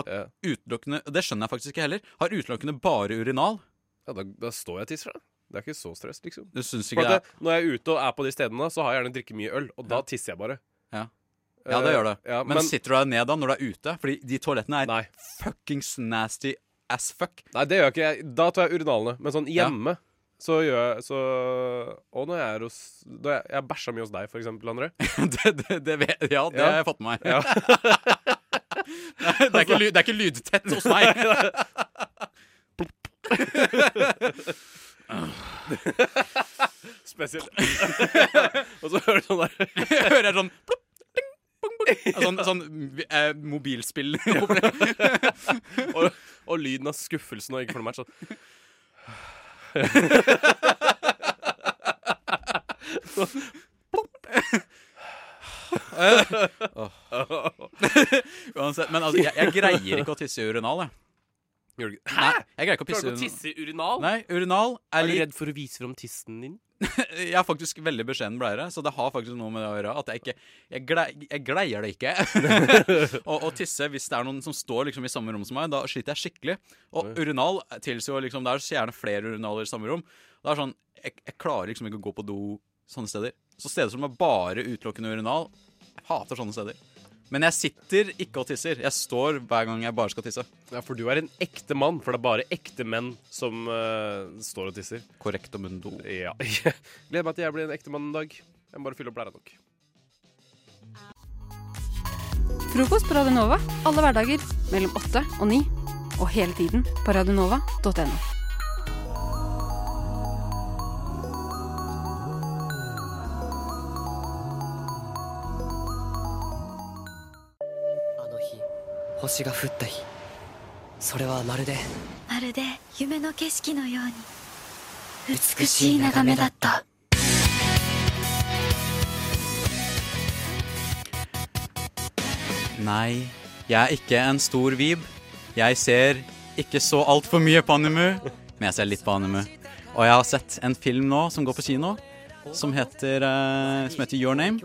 S9: Har
S2: Ja.
S9: utelukkende Det skjønner jeg faktisk ikke heller. Har utelukkende bare urinal.
S2: Ja, da, da står jeg og tisser, da. Det er ikke så stress, liksom.
S9: Du syns
S2: For
S9: ikke det
S2: at det, når jeg er ute og er på de stedene, så har jeg gjerne drikket mye øl, og da
S9: Ja.
S2: tisser jeg bare.
S9: Ja. Ja, det gjør det.
S2: Eh, Ja,
S9: men, sitter du deg ned da når du er ute? Fordi de toalettene er
S2: Nei.
S9: fuckings nasty as
S2: [LAUGHS]
S9: fuck. [LAUGHS]
S2: Nei, det gjør jeg ikke jeg. Da tar jeg urinalene. Men sånn
S9: Ja.
S2: hjemme så gjør jeg så Og når jeg er hos når jeg, jeg bæsja mye hos deg, for eksempel, André.
S9: det, det, det vet, ja, det
S2: Ja.
S9: har jeg fått med meg. [LAUGHS]
S2: Ja. Altså-
S9: Nei, det, er ikke, ly- det er ikke lydtett hos
S2: [LAUGHS]
S9: meg.
S2: [LAUGHS] Spesielt. [LAUGHS] og så hører du sånn der
S9: Jeg hører sånn plopp, ding, bong, bong. Sånn, sånn eh, mobilspill. [LAUGHS]
S2: og, og lyden av skuffelsen og ikke får noe match. Sånn.
S9: Uansett, men altså, jeg, jeg greier ikke å tisse i urinal. Jeg.
S2: Gjør du ikke-
S9: Nei, jeg greier ikke å
S2: Klarer
S9: pisse
S2: du
S9: i
S2: ikke å
S9: urinal.
S2: tisse i urinal?
S9: Nei, urinal er
S2: Er du
S9: litt
S2: redd for å vise fram tissen din?
S9: Jeg er faktisk veldig beskjeden bleiere, så det har faktisk noe med det å gjøre. At jeg ikke Jeg, glei, jeg gleier det ikke. [LAUGHS] å å tisse hvis det er noen som står liksom i samme rom som meg, da sliter jeg skikkelig. Og urinal tilsier jo liksom Det er så gjerne flere urinaler i samme rom. Det er sånn jeg, jeg klarer liksom ikke å gå på do sånne steder. Så steder som er bare utelukkende urinal, jeg hater sånne steder. Men jeg sitter ikke og tisser. Jeg står hver gang jeg bare skal tisse.
S2: Ja, for du er en ekte mann, for det er bare ekte menn som eh, står og tisser.
S9: Korrekt og mundo.
S2: Ja. [LAUGHS] Gleder meg til jeg blir en ekte mann en dag. Jeg må bare fylle opp blæra nok.
S10: Frokost på Radio Nova alle hverdager mellom 8 og 9. Og hele tiden på radionova.no.
S11: まるで夢の景色のように美しい眺めだった
S9: Nei, jeg er ikke en stor vib. Jeg ser ikke så altfor mye på anime, men jeg ser litt på anime. Og jeg har sett en film nå som går på kino, som heter, eh, som heter Your Name.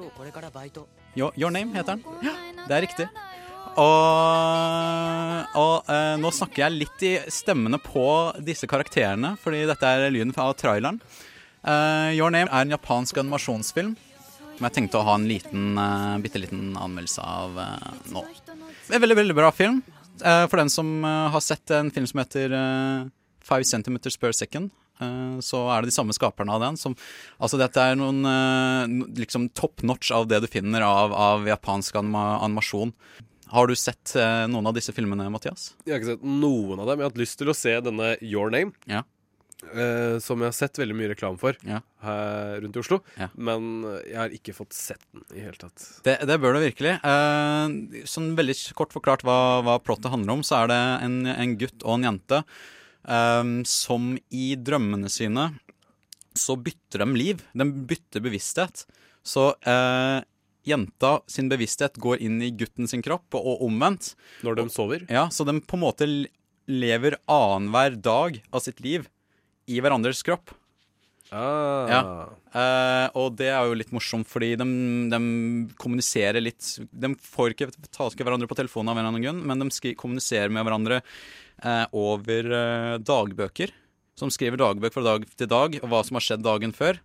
S9: Jo, Your Name heter den. Ja, det er riktig. Og, og eh, nå snakker jeg litt i stemmene på disse karakterene, fordi dette er lyden fra traileren. Eh, Your Name er en japansk animasjonsfilm som jeg tenkte å ha en liten, uh, bitte liten anmeldelse av eh, nå. Det er en veldig, veldig bra film. Eh, for den som eh, har sett en film som heter eh, Five Centimeters Per Second, eh, så er det de samme skaperne av den. Som, altså dette er noen eh, no- liksom top notch av det du finner av, av japansk anima animasjon. Har du sett eh, noen av disse filmene, Mathias?
S2: Jeg har ikke sett noen av dem. Jeg har hatt lyst til å se denne Your Name.
S9: Ja.
S2: eh, som jeg har sett veldig mye reklame for
S9: Ja.
S2: her rundt i Oslo.
S9: Ja.
S2: Men jeg har ikke fått sett den i hele tatt.
S9: Det, det bør du virkelig. Eh, sånn veldig kort forklart hva, hva plottet handler om, så er det en, en gutt og en jente eh, som i drømmene sine så bytter de liv. De bytter bevissthet. Så eh, jenta sin bevissthet går inn i gutten sin kropp, og, og omvendt.
S2: Når de sover.
S9: Ja, Så de på en måte l- lever annenhver dag av sitt liv i hverandres kropp.
S2: Ah.
S9: Ja. Eh, og det er jo litt morsomt, fordi de, de kommuniserer litt De får ikke ta ikke hverandre på telefonen, av en eller annen grunn, men de skri, kommuniserer med hverandre eh, over eh, dagbøker. Som skriver dagbøker fra dag til dag, og hva som har skjedd dagen før.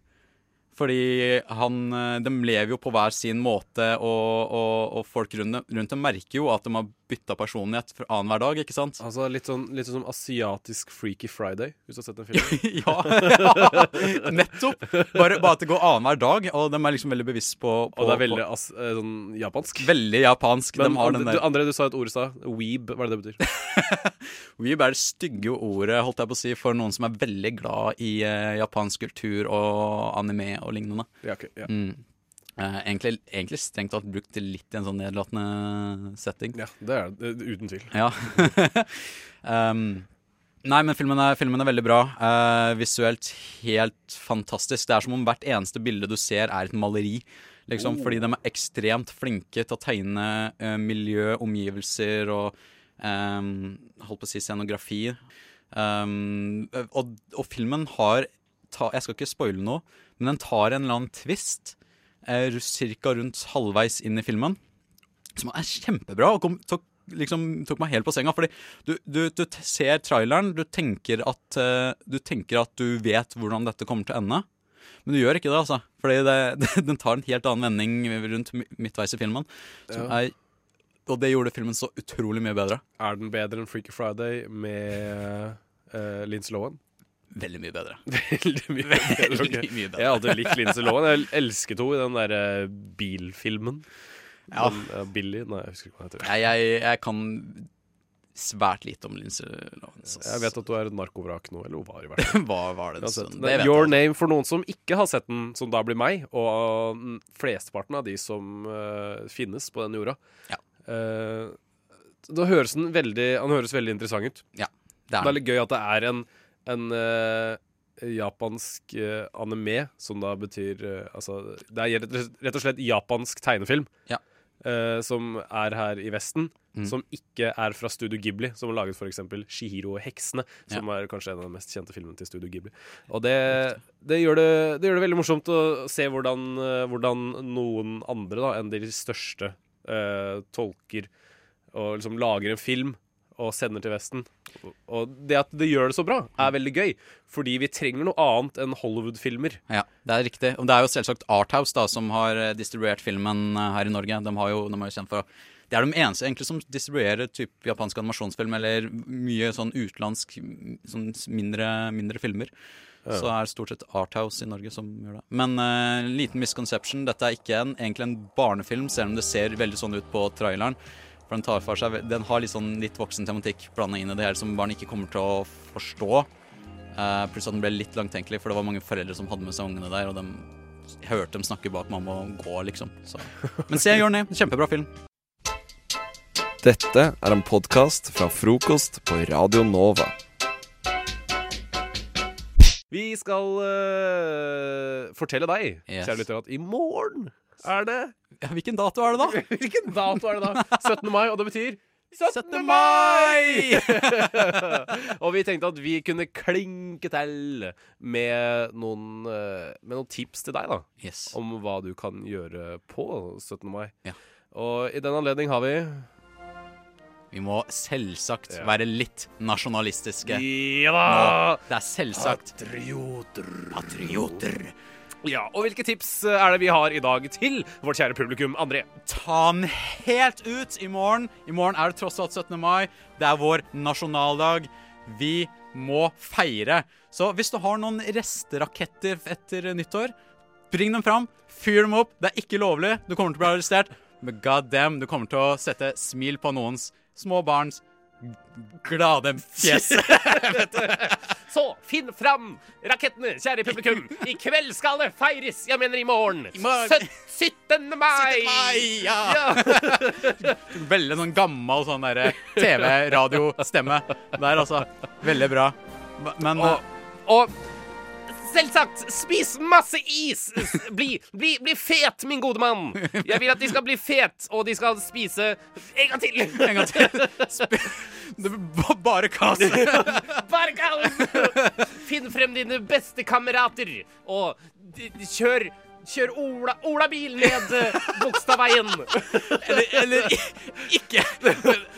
S9: Fordi han, eh, de lever jo på hver sin måte, og, og, og folk rundt, dem- rundt dem merker jo at de har bytta personlighet for annenhver dag, ikke sant? [LAUGHS]
S2: Altså litt sånn, litt sånn som asiatisk Freaky Friday, hvis du har sett
S9: [LAUGHS]
S2: den filmen.
S9: ja, nettopp! Bare, bare at det går annenhver dag, og de er liksom veldig bevisst på, på
S2: Og det er
S9: på-
S2: veldig as eh, sånn japansk.
S9: Veldig japansk.
S2: Men
S9: de har den
S2: Andre-
S9: der
S2: du, André, du sa et ord i stad. Weeb. Hva er det det betyr?
S9: Weeb er det stygge ordet holdt jeg på å si, for noen som er veldig glad i eh, japansk kultur og anime og lignende.
S2: Ja, ok, ja.
S9: Mm. Eh, egentlig, egentlig strengt tatt brukt det litt i en sånn nedlatende setting.
S2: ja, det er det. det- Uten tvil.
S9: Ja. [LAUGHS] um, nei, men filmen er, filmen er veldig bra. Eh, visuelt helt fantastisk. Det er som om hvert eneste bilde du ser, er et maleri. Liksom, Fordi de er ekstremt flinke til å tegne eh, miljø, omgivelser og um, Holdt på å si scenografi. Um, og, og filmen har ta, Jeg skal ikke spoile noe, men den tar en eller annen twist eh, uh, ca. rundt halvveis inn i filmen. Som er kjempebra og kom, tok liksom tok meg helt på senga. Fordi du, du, du t- ser traileren, du tenker, at, eh, du tenker at du vet hvordan dette kommer til å ende. Men du gjør ikke det, altså. Fordi det, [LAUGHS] det, den tar en helt annen vending rundt mi- midtveis i filmen. Som
S2: Ja.
S9: er, og det gjorde filmen så utrolig mye bedre.
S2: Er den bedre enn Freaky Friday med uh, Lince Lohan?
S9: Veldig mye bedre.
S2: [LAUGHS] Veldig mye bedre.
S9: Veldig
S2: ok.
S9: mye bedre.
S2: Jeg hadde likt Lince Lohan. Jeg elsket henne i den derre bilfilmen.
S9: [LAUGHS] Ja.
S2: Den, eh, Billy Nei, jeg husker ikke hva den heter.
S9: Jeg, jeg, jeg kan svært lite om Lince Lovens.
S2: Jeg vet at du er et narkovrak nå, eller hun var i hvert
S9: [LAUGHS] fall. var det en
S2: Uansett,
S9: stund, det
S2: men
S9: vet jeg
S2: Your Name for noen som ikke har sett den, som da blir meg, og mm, flesteparten av de som eh, finnes på den jorda. Eh, da høres den veldig, han høres veldig interessant ut.
S9: det er
S2: er litt gøy at det er en, en eh, japansk eh, anime, som da betyr eh, Altså, det er rett- rett og slett japansk tegnefilm. eh, som er her i Vesten,
S9: Mm.
S2: som ikke er fra Studio Ghibli, som har laget f.eks. Shihiro og heksene,
S9: Ja.
S2: som er kanskje en av de mest kjente filmene til Studio Ghibli. Og det, det, gjør, det, det gjør det veldig morsomt å se hvordan, eh, hvordan noen andre da, enn de største eh, tolker og liksom lager en film og sender til Vesten. Og- Og det at det gjør det så bra, er veldig gøy, fordi vi trenger noe annet enn Hollywood-filmer.
S9: Ja, det er riktig. Og det er jo selvsagt Arthouse da, som har eh, distribuert filmen eh, her i Norge. De, har jo, de er jo kjent for å- Det er de eneste egentlig som distribuerer typ, japansk animasjonsfilm eller mye sånn utenlandsk m- sånn s- mindre, mindre filmer.
S6: Ja.
S9: Så er det stort sett Arthouse i Norge som gjør det. Men eh, liten misconception. Dette er ikke en, egentlig en barnefilm, selv om det ser veldig sånn ut på traileren. For Den tar for seg, ve- den har litt sånn litt voksen tematikk blanda inn i det her som barn ikke kommer til å forstå. Eh, pluss at den ble litt langtenkelig, for det var mange foreldre som hadde med seg ungene der, og de hørte dem snakke bak mamma og gå, liksom. Så. Men se Journey, kjempebra film.
S12: Dette er en podkast fra frokost på Radio Nova.
S2: Vi skal eh, fortelle deg,
S12: Yes.
S2: kjære lytter, at i morgen er det
S9: ja, Hvilken dato er
S6: [LAUGHS]
S9: det da?
S2: hvilken dato er det da? 17. mai, og det betyr 17.
S9: mai!
S2: [LAUGHS] og vi tenkte at vi kunne klinke til med noen, eh, med noen tips til deg, da. Om hva du kan gjøre på 17. mai. Og i den anledning har vi
S9: Vi må selvsagt være litt nasjonalistiske.
S2: Ja da!
S9: Nå. Det er selvsagt.
S2: Patrioter.
S9: Patrioter.
S2: Ja, Og hvilke tips eh, er det vi har i dag til vårt kjære publikum, André?
S9: Ta den helt ut i morgen. I morgen er det tross alt 17. mai. Det er vår nasjonaldag. Vi må feire. Så hvis du har noen restraketter etter nyttår, bring dem fram. Fyr dem opp. Det er ikke lovlig. Du kommer til å bli arrestert. Men god damn, du kommer til å sette smil på noens små barns glade fjes. [LAUGHS]
S2: Så finn fram rakettene, kjære publikum. I kveld skal det feires. Jeg mener i morgen.
S9: morgen.
S2: Sø- 17. mai.
S9: mai, ja. [LAUGHS] Veldig sånn gammel sånn derre TV-radio-stemme der, altså. Veldig bra. Men eh,
S2: Og Selvsagt. Spis masse is. S- Bli, bli, bli fet, min gode mann. Jeg vil at de skal bli fet, og de skal spise En gang til.
S9: En gang til. bare
S2: [LAUGHS]
S9: kaos.
S2: Bare kaos. Finn frem dine beste kamerater, og d- d- kjør Kjør Ola, Olabil ned eh, Bogstadveien.
S9: Eller, ikke.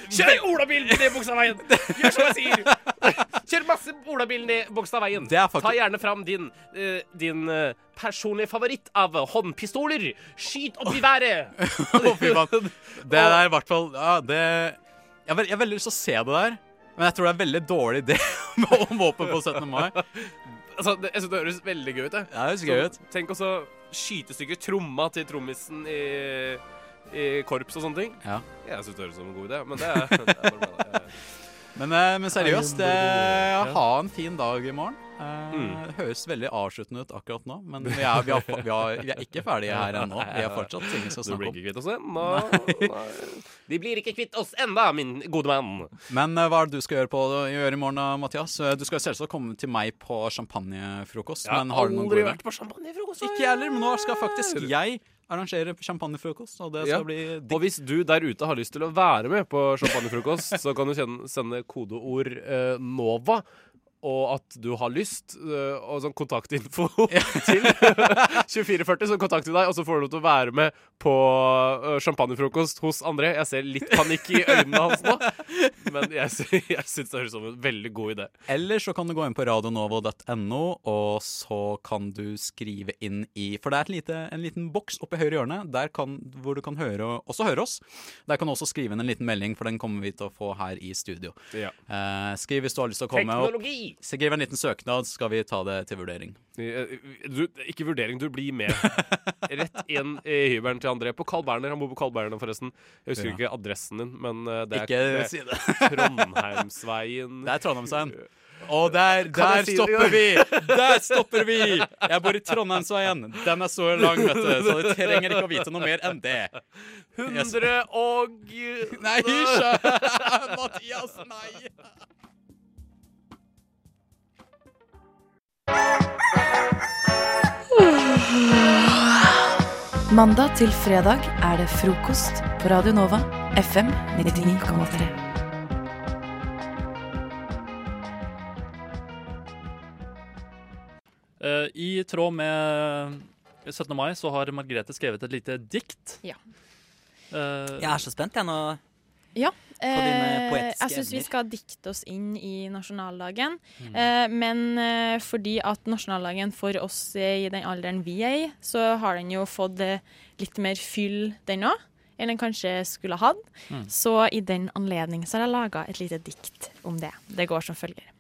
S2: Kjør Olabil ned Bogstadveien. Gjør som jeg sier. Kjør masse Olabil ned Bogstadveien.
S9: Det er faktisk-
S2: Ta gjerne fram din, eh, din eh, personlige favoritt av håndpistoler. Skyt opp i været.
S9: Å, fy faen. Det der i hvert fall ja, det, jeg, har vel- jeg har veldig lyst til å se det der, men jeg tror det er en veldig dårlig idé [LAUGHS] om våpen på 17. mai.
S2: Altså, det, jeg synes det høres veldig gøy ut. Det,
S9: Ja, det høres gøy ut.
S2: Så Tenk også skytestykker tromma til trommisen i, i korps og sånne ting.
S9: Ja.
S2: Jeg synes det høres ut som en god idé, men det er, det er bare meg. da.
S9: Men, eh, men seriøst, eh, ha en fin dag i morgen. Eh,
S2: Mm.
S9: Det høres veldig avsluttende ut akkurat nå, men vi er, vi er, fa- vi er, vi er ikke ferdige her ennå. Vi har fortsatt ting vi skal
S2: Du
S9: snakke
S2: blir
S9: om.
S2: ikke kvitt oss eh. ennå. Nei. De blir ikke kvitt oss ennå, min gode mann.
S9: Men eh, hva er det du skal gjøre, på, gjøre i morgen, da, Mathias? Eh, Du skal selvsagt komme til meg på champagnefrokost.
S2: Jeg har
S9: men har du noen
S2: aldri
S9: gode
S2: vært på champagnefrokost.
S9: Ikke jeg heller, men nå skal faktisk jeg arrangere champagnefrokost. Og det skal
S2: Ja.
S9: bli
S2: Og hvis du der ute har lyst til å være med på champagnefrokost, så kan du kjenne, sende kodeord eh, NOVA og at du har lyst, øh, og sånn kontaktinfo [LAUGHS] til 2440, så kontakter vi deg, og så får du lov til å være med på øh, champagnefrokost hos André. Jeg ser litt panikk i øynene hans nå, men jeg, sy- jeg syns det høres ut som en veldig god idé.
S9: Eller så kan du gå inn på radionovo.no, og så kan du skrive inn i For det er et lite, en liten boks oppe i høyre hjørne der kan, hvor du kan høre, også høre oss. Der kan du også skrive inn en liten melding, for den kommer vi til å få her i studio.
S2: Ja.
S9: Eh, skriv hvis du har lyst til å komme opp.
S2: Teknologi!
S9: Skriv en liten søknad, så skal vi ta det til vurdering.
S2: eh, Du, ikke vurdering, du blir
S13: [LAUGHS]
S2: med. Rett inn i hybelen til André på Carl Berner. Han bor på Carl Berner, forresten. Jeg husker
S9: Ja.
S2: ikke adressen din, men øh, det er,
S9: Ikke
S2: det er
S9: si det.
S13: [LAUGHS]
S2: Trondheimsveien
S9: Det er Trondheimsveien. Og der,
S2: Kan
S9: der
S2: jeg si det,
S9: stopper vi!
S2: Jørgen?
S9: Der stopper vi! Jeg bor i Trondheimsveien. Den er så lang, vet du, så du trenger ikke å vite noe mer enn det. Yes.
S2: 100 og
S9: Nei,
S2: [LAUGHS]
S9: hysj! Mathias, nei!
S14: Mandag til fredag er det frokost på Radio Nova, FM 99,3.
S13: [LAUGHS] Eh, I tråd med 17. mai så har Margrethe skrevet et lite dikt.
S15: Ja.
S13: Eh,
S16: Jeg er så spent, jeg nå.
S15: Ja.
S16: dine
S15: Eh,
S16: poetiske
S15: jeg syns vi
S16: evner.
S15: skal dikte oss inn i nasjonaldagen.
S16: Mm.
S15: Eh, men eh, fordi at nasjonaldagen for oss eh, i den alderen vi er i, så har den jo fått eh, litt mer fyll, den òg. Enn den kanskje skulle hatt.
S16: Mm.
S15: Så i den anledning så har jeg laga et lite dikt om det. Det går som følger.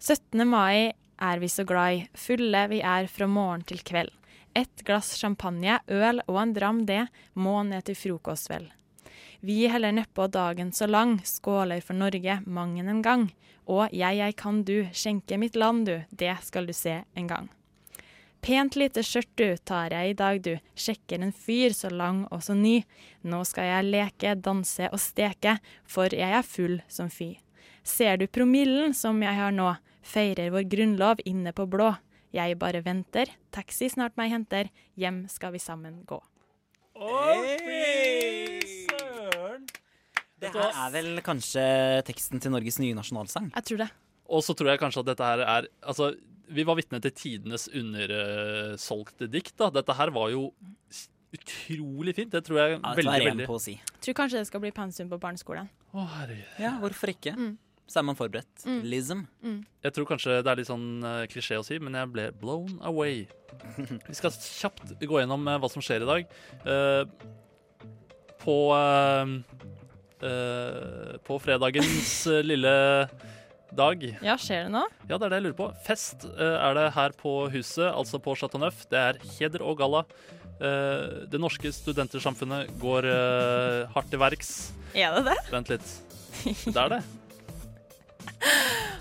S15: 17. mai er vi så glad i, fulle vi er fra morgen til kveld. Et glass champagne, øl og en dram det, må ned til frokost vel. Vi heller nedpå dagen så lang, skåler for Norge mangen en gang. Og jeg, jeg kan du, skjenke mitt land du, det skal du se en gang. Pent lite skjørt du, tar jeg i dag du, sjekker en fyr så lang og så ny. Nå skal jeg leke, danse og steke, for jeg er full som fy. Ser du promillen som jeg har nå, feirer vår grunnlov inne på blå. Jeg bare venter, taxi snart meg henter, hjem skal vi sammen gå.
S16: Søren! Det her er vel kanskje teksten til Norges nye nasjonalsang?
S15: Jeg tror det.
S13: Og så tror jeg kanskje at dette her er Altså, vi var vitne til tidenes undersolgte dikt, da. Dette her var jo s- utrolig fint. Det tror jeg
S16: Ja, dette
S13: veldig,
S16: var ren
S13: veldig
S16: poesi.
S15: Tror kanskje det skal bli pensum på barneskolen.
S13: Å, herregud.
S16: Ja, hvorfor ikke? Så er man forberedt.
S15: Mm.
S16: Lism.
S15: Mm.
S13: Jeg tror kanskje det er litt sånn eh, klisjé å si, men jeg ble blown away. Vi skal kjapt gå gjennom eh, hva som skjer i dag. Eh, på eh, eh, På fredagens eh, lille dag
S15: Ja, skjer det nå?
S13: Ja, det er det jeg lurer på. Fest eh, er det her på huset, altså på Chateau Neuf. Det er heder og galla. Eh, det norske studentersamfunnet går eh, hardt til verks.
S15: Er det det?
S13: Vent litt. Det er det.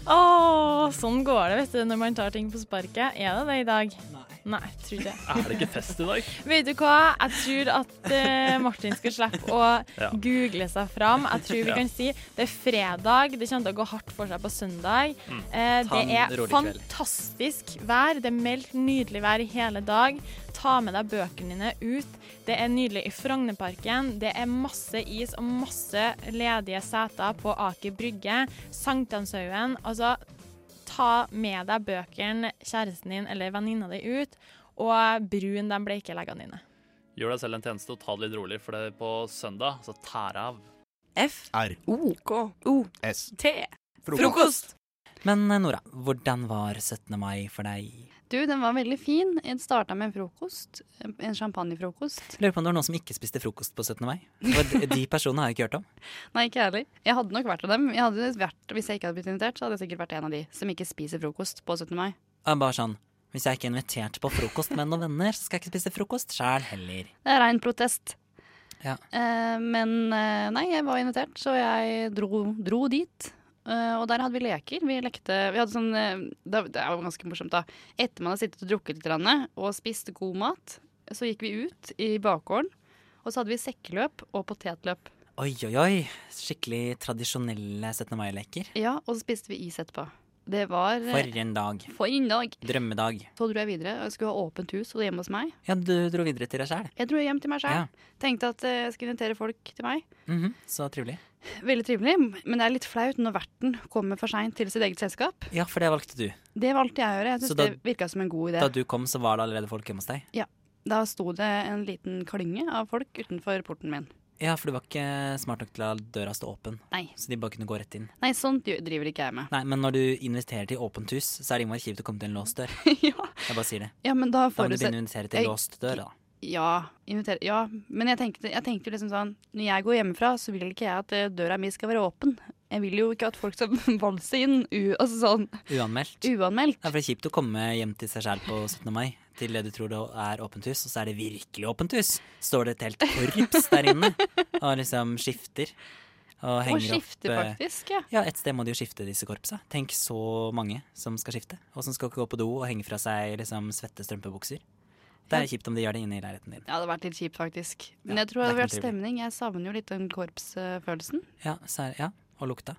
S15: Åh, sånn går det vet du, når man tar ting på sparket. Er det det i dag? Nei. Nei, tror ikke jeg.
S13: Er det ikke fest i dag?
S15: Vet du hva? Jeg tror at eh, Martin skal slippe å
S13: [LAUGHS] Ja.
S15: google seg fram. Jeg tror vi
S13: [LAUGHS] Ja.
S15: kan si det er fredag. Det kommer til å gå hardt for seg på søndag.
S13: Mm.
S15: Eh,
S13: Ta en
S15: det er
S13: rolig kveld.
S15: fantastisk vær. Det er meldt nydelig vær i hele dag. Ta med deg bøkene dine ut. Det er nydelig i Frognerparken. Det er masse is og masse ledige seter på Aker Brygge. Sankthanshaugen. Altså, ta med deg bøkene kjæresten din eller venninna di ut, og brun de bleikeleggene dine.
S13: Gjør deg selv en tjeneste og ta det litt rolig, for det er på søndag så tær av.
S16: F.
S13: R.
S16: O. K. O. S.
S17: Te.
S16: Men eh, Nora, hvordan var 17. mai for deg?
S17: Du, den var veldig fin. Jeg starta med en frokost. eh, En champagnefrokost.
S16: Lurer på om det var noen som ikke spiste frokost på 17. mai? For de- de personene har jeg ikke hørt om.
S17: [LAUGHS] Nei, ikke jeg heller. Jeg hadde nok vært av dem. Jeg hadde vært, hvis jeg ikke hadde blitt invitert, så hadde jeg sikkert vært en av de som ikke spiser frokost på 17. mai.
S16: Jeg er bare sånn, hvis jeg ikke er invitert på frokost med noen venner, så skal jeg ikke spise frokost sjæl heller.
S17: Det er rein protest.
S16: Ja.
S17: Eh, men eh, nei, jeg var invitert, så jeg dro, dro dit. Eh, og der hadde vi leker. Vi lekte Vi hadde sånn eh, Det det var ganske morsomt, da. Etter man hadde sittet og drukket litt grann, og spist god mat, så gikk vi ut i bakgården. Og så hadde vi sekkeløp og potetløp.
S16: Oi, oi, oi. Skikkelig tradisjonelle 17. mai-leker.
S17: Ja, og så spiste vi is etterpå. Det var
S16: For en dag.
S17: For en dag.
S16: Drømmedag.
S17: Så dro jeg videre. Jeg skulle ha åpent hus og hjemme hos meg.
S16: Ja, du dro videre til deg sjæl.
S17: Jeg dro hjem til meg sjøl. Tenkte at eh, jeg skulle invitere folk til meg.
S16: Mhm, Så trivelig.
S17: Veldig trivelig, men det er litt flaut når verten kommer for seint til sitt eget selskap.
S16: Ja, for det valgte du.
S17: Det valgte jeg å gjøre. Jeg
S16: Så
S17: syns
S16: da-
S17: det virka som en god idé.
S16: Da du kom, så var det allerede folk hjemme hos deg?
S17: Ja. Da sto det en liten klynge av folk utenfor porten min.
S16: Ja, for du var ikke smart nok til å la døra stå åpen.
S17: Nei.
S16: Så de bare kunne gå rett inn.
S17: Nei, sånt gjø- driver ikke jeg med.
S16: Nei, men når du inviterer til åpent hus, så er det innmari kjipt å komme til en låst dør. Jeg bare sier det.
S17: [LAUGHS] Ja, men
S16: må
S17: da
S16: du
S17: forutset-
S16: begynne å invitere til
S17: Jeg-
S16: låst dør, da.
S17: Ja, inviter, ja. men jeg tenkte, jeg tenkte jo liksom sånn Når jeg går hjemmefra, så vil ikke jeg at eh, døra mi skal være åpen. Jeg vil jo ikke at folk skal [LAUGHS] valse inn. U altså sånn
S16: Uanmeldt.
S17: Uanmeldt.
S16: Ja, for det er kjipt å komme hjem til seg sjæl på 17. mai, til det du tror det er åpent hus, og så er det virkelig åpent hus. Står det et helt korps der inne og liksom skifter. Og
S17: Og
S16: henger
S17: skifter
S16: opp, eh,
S17: faktisk, ja.
S16: Ja, et sted må de jo skifte disse korpsa. Tenk så mange som skal skifte, og som skal gå på do og henge fra seg liksom svette strømpebukser. Det er kjipt om de gjør det inne i leiligheten din.
S17: Ja, det hadde vært litt kjipt, faktisk. Men jeg tror
S16: det er
S17: det hadde vært
S16: ikke noe
S17: stemning. Jeg savner jo litt den korpsfølelsen.
S16: Ja, så er, ja. Og lukta.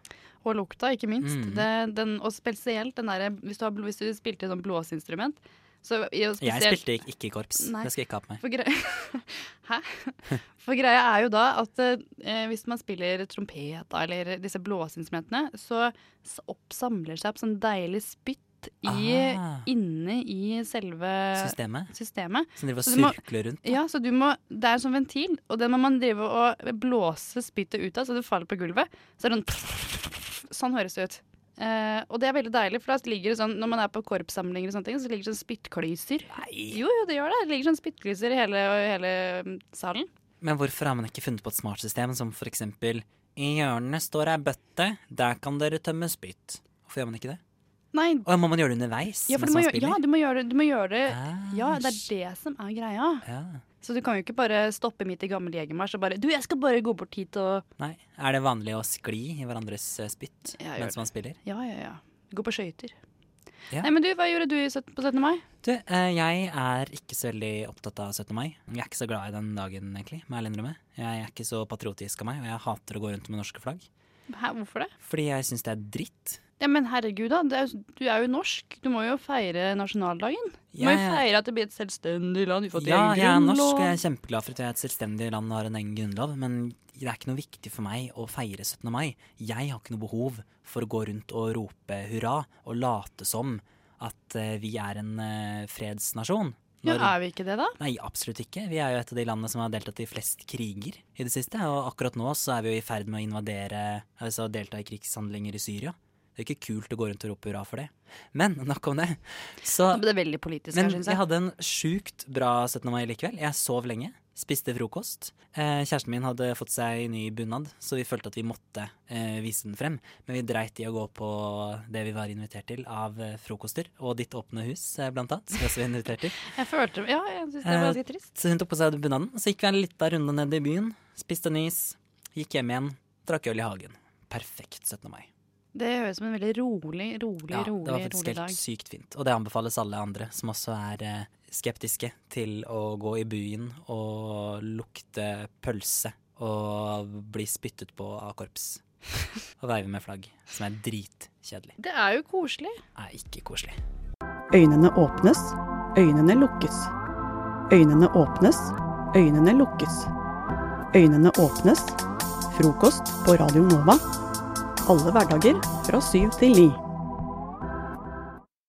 S17: Og lukta, ikke minst.
S16: Mm.
S17: Det, den, og spesielt den derre hvis, du har bl- hvis du spilte sånn blåseinstrument, så i- og
S16: Jeg
S17: spesielt-
S16: spilte ikke- ikke i korps.
S17: Nei.
S16: Det skal jeg ikke ha på meg.
S17: For greia, Hæ? For greia er jo da at eh, hvis man spiller trompet da, eller disse blåseinstrumentene, så s- oppsamler seg opp sånn deilig spytt i,
S16: Ah.
S17: inne i selve
S16: Systemet?
S17: systemet.
S16: Som driver og
S17: Så du må-
S16: surkler rundt, da.
S17: Ja, så du må, det er en sånn ventil, og den må man drive og blåse spyttet ut av, så det faller på gulvet. Så er det sånn Sånn høres det ut. Eh, og det er veldig deilig, for da ligger det sånn, når man er på korpssamlinger, og sånne ting, så ligger det sånn spyttklyser. Jo, jo, det gjør det. Det ligger sånn spyttklyser i hele, hele mm, salen.
S16: Men hvorfor har man ikke funnet på et smart system som for eksempel I hjørnet står ei bøtte, der kan dere tømme spytt. Hvorfor gjør man ikke det?
S17: Nei,
S16: Og må man gjøre det underveis?
S17: ja, for
S16: mens
S17: du
S16: man
S17: må, gjøre, ja,
S16: spiller? Ah,
S17: du må gjøre det. Du må gjøre det.
S5: Ah,
S17: Ja, det er det som er greia.
S16: Ja.
S17: Så du kan jo ikke bare stoppe midt i gammel jegermarsj og bare Du, jeg skal bare gå bort hit og
S16: Nei. Er det vanlig å skli i hverandres eh, spytt
S17: Ja, gjør
S16: mens man
S17: det.
S16: spiller?
S17: Ja, ja, ja. Gå på skøyter.
S16: Ja.
S17: Nei, men du, hva gjorde du i sytten- på 17. mai?
S16: Du, eh, jeg er ikke så veldig opptatt av 17. mai. Jeg er ikke så glad i den dagen, egentlig. må Jeg ærlig innrømme. Jeg er ikke så patriotisk av meg, og jeg hater å gå rundt med norske flagg.
S17: Hæ, hvorfor det?
S16: Fordi jeg syns det er dritt.
S17: Ja, Men herregud, da. Det er, jo- du er jo norsk. Du må jo feire nasjonaldagen. Du må
S16: Ja,
S17: jo
S16: ja.
S17: feire at det blir et selvstendig land. Vi får til
S16: Ja,
S17: en
S16: jeg er norsk,
S17: grunnlov.
S16: og jeg er kjempeglad for at jeg er et selvstendig land og har en egen grunnlov, men det er ikke noe viktig for meg å feire 17. mai. Jeg har ikke noe behov for å gå rundt og rope hurra og late som at eh, vi er en eh, fredsnasjon.
S17: Ja, er vi ikke det, da?
S16: Nei, absolutt ikke. Vi er jo et av de landene som har deltatt i flest kriger i det siste, og akkurat nå så er vi jo i ferd med å invadere, altså delta i krigshandlinger i Syria. Det er ikke kult å gå rundt og rope hurra for det. Men nok om det. Så,
S17: Nå ble det veldig politisk
S16: men
S17: her, synes jeg.
S16: jeg hadde en sjukt bra 17. mai likevel. Jeg sov lenge, spiste frokost. Eh, kjæresten min hadde fått seg ny bunad, så vi følte at vi måtte eh, vise den frem. Men vi dreit i å gå på det vi var invitert til av eh, frokoster, og Ditt åpne hus, eh, blant annet. Som vi også var
S17: [LAUGHS]
S16: invitert til.
S17: Jeg følte Ja, jeg syns det var ganske trist.
S16: Så hun tok på seg bunaden, så gikk vi en liten runde ned i byen, spiste en is, gikk hjem igjen, drakk øl i hagen. Perfekt 17. mai.
S17: Det høres ut som en veldig rolig, rolig,
S16: Ja, det var
S17: rolig,
S16: faktisk
S17: rolig dag.
S16: helt sykt fint. Og det anbefales alle andre som også er eh, skeptiske til å gå i byen og lukte pølse og bli spyttet på av korps. Og veive med flagg, som er dritkjedelig.
S17: Det er jo koselig.
S16: Er ikke koselig.
S18: Øynene åpnes, øynene lukkes. Øynene åpnes, øynene lukkes. Øynene åpnes. Frokost på Radio Nova. Alle hverdager fra syv til ni.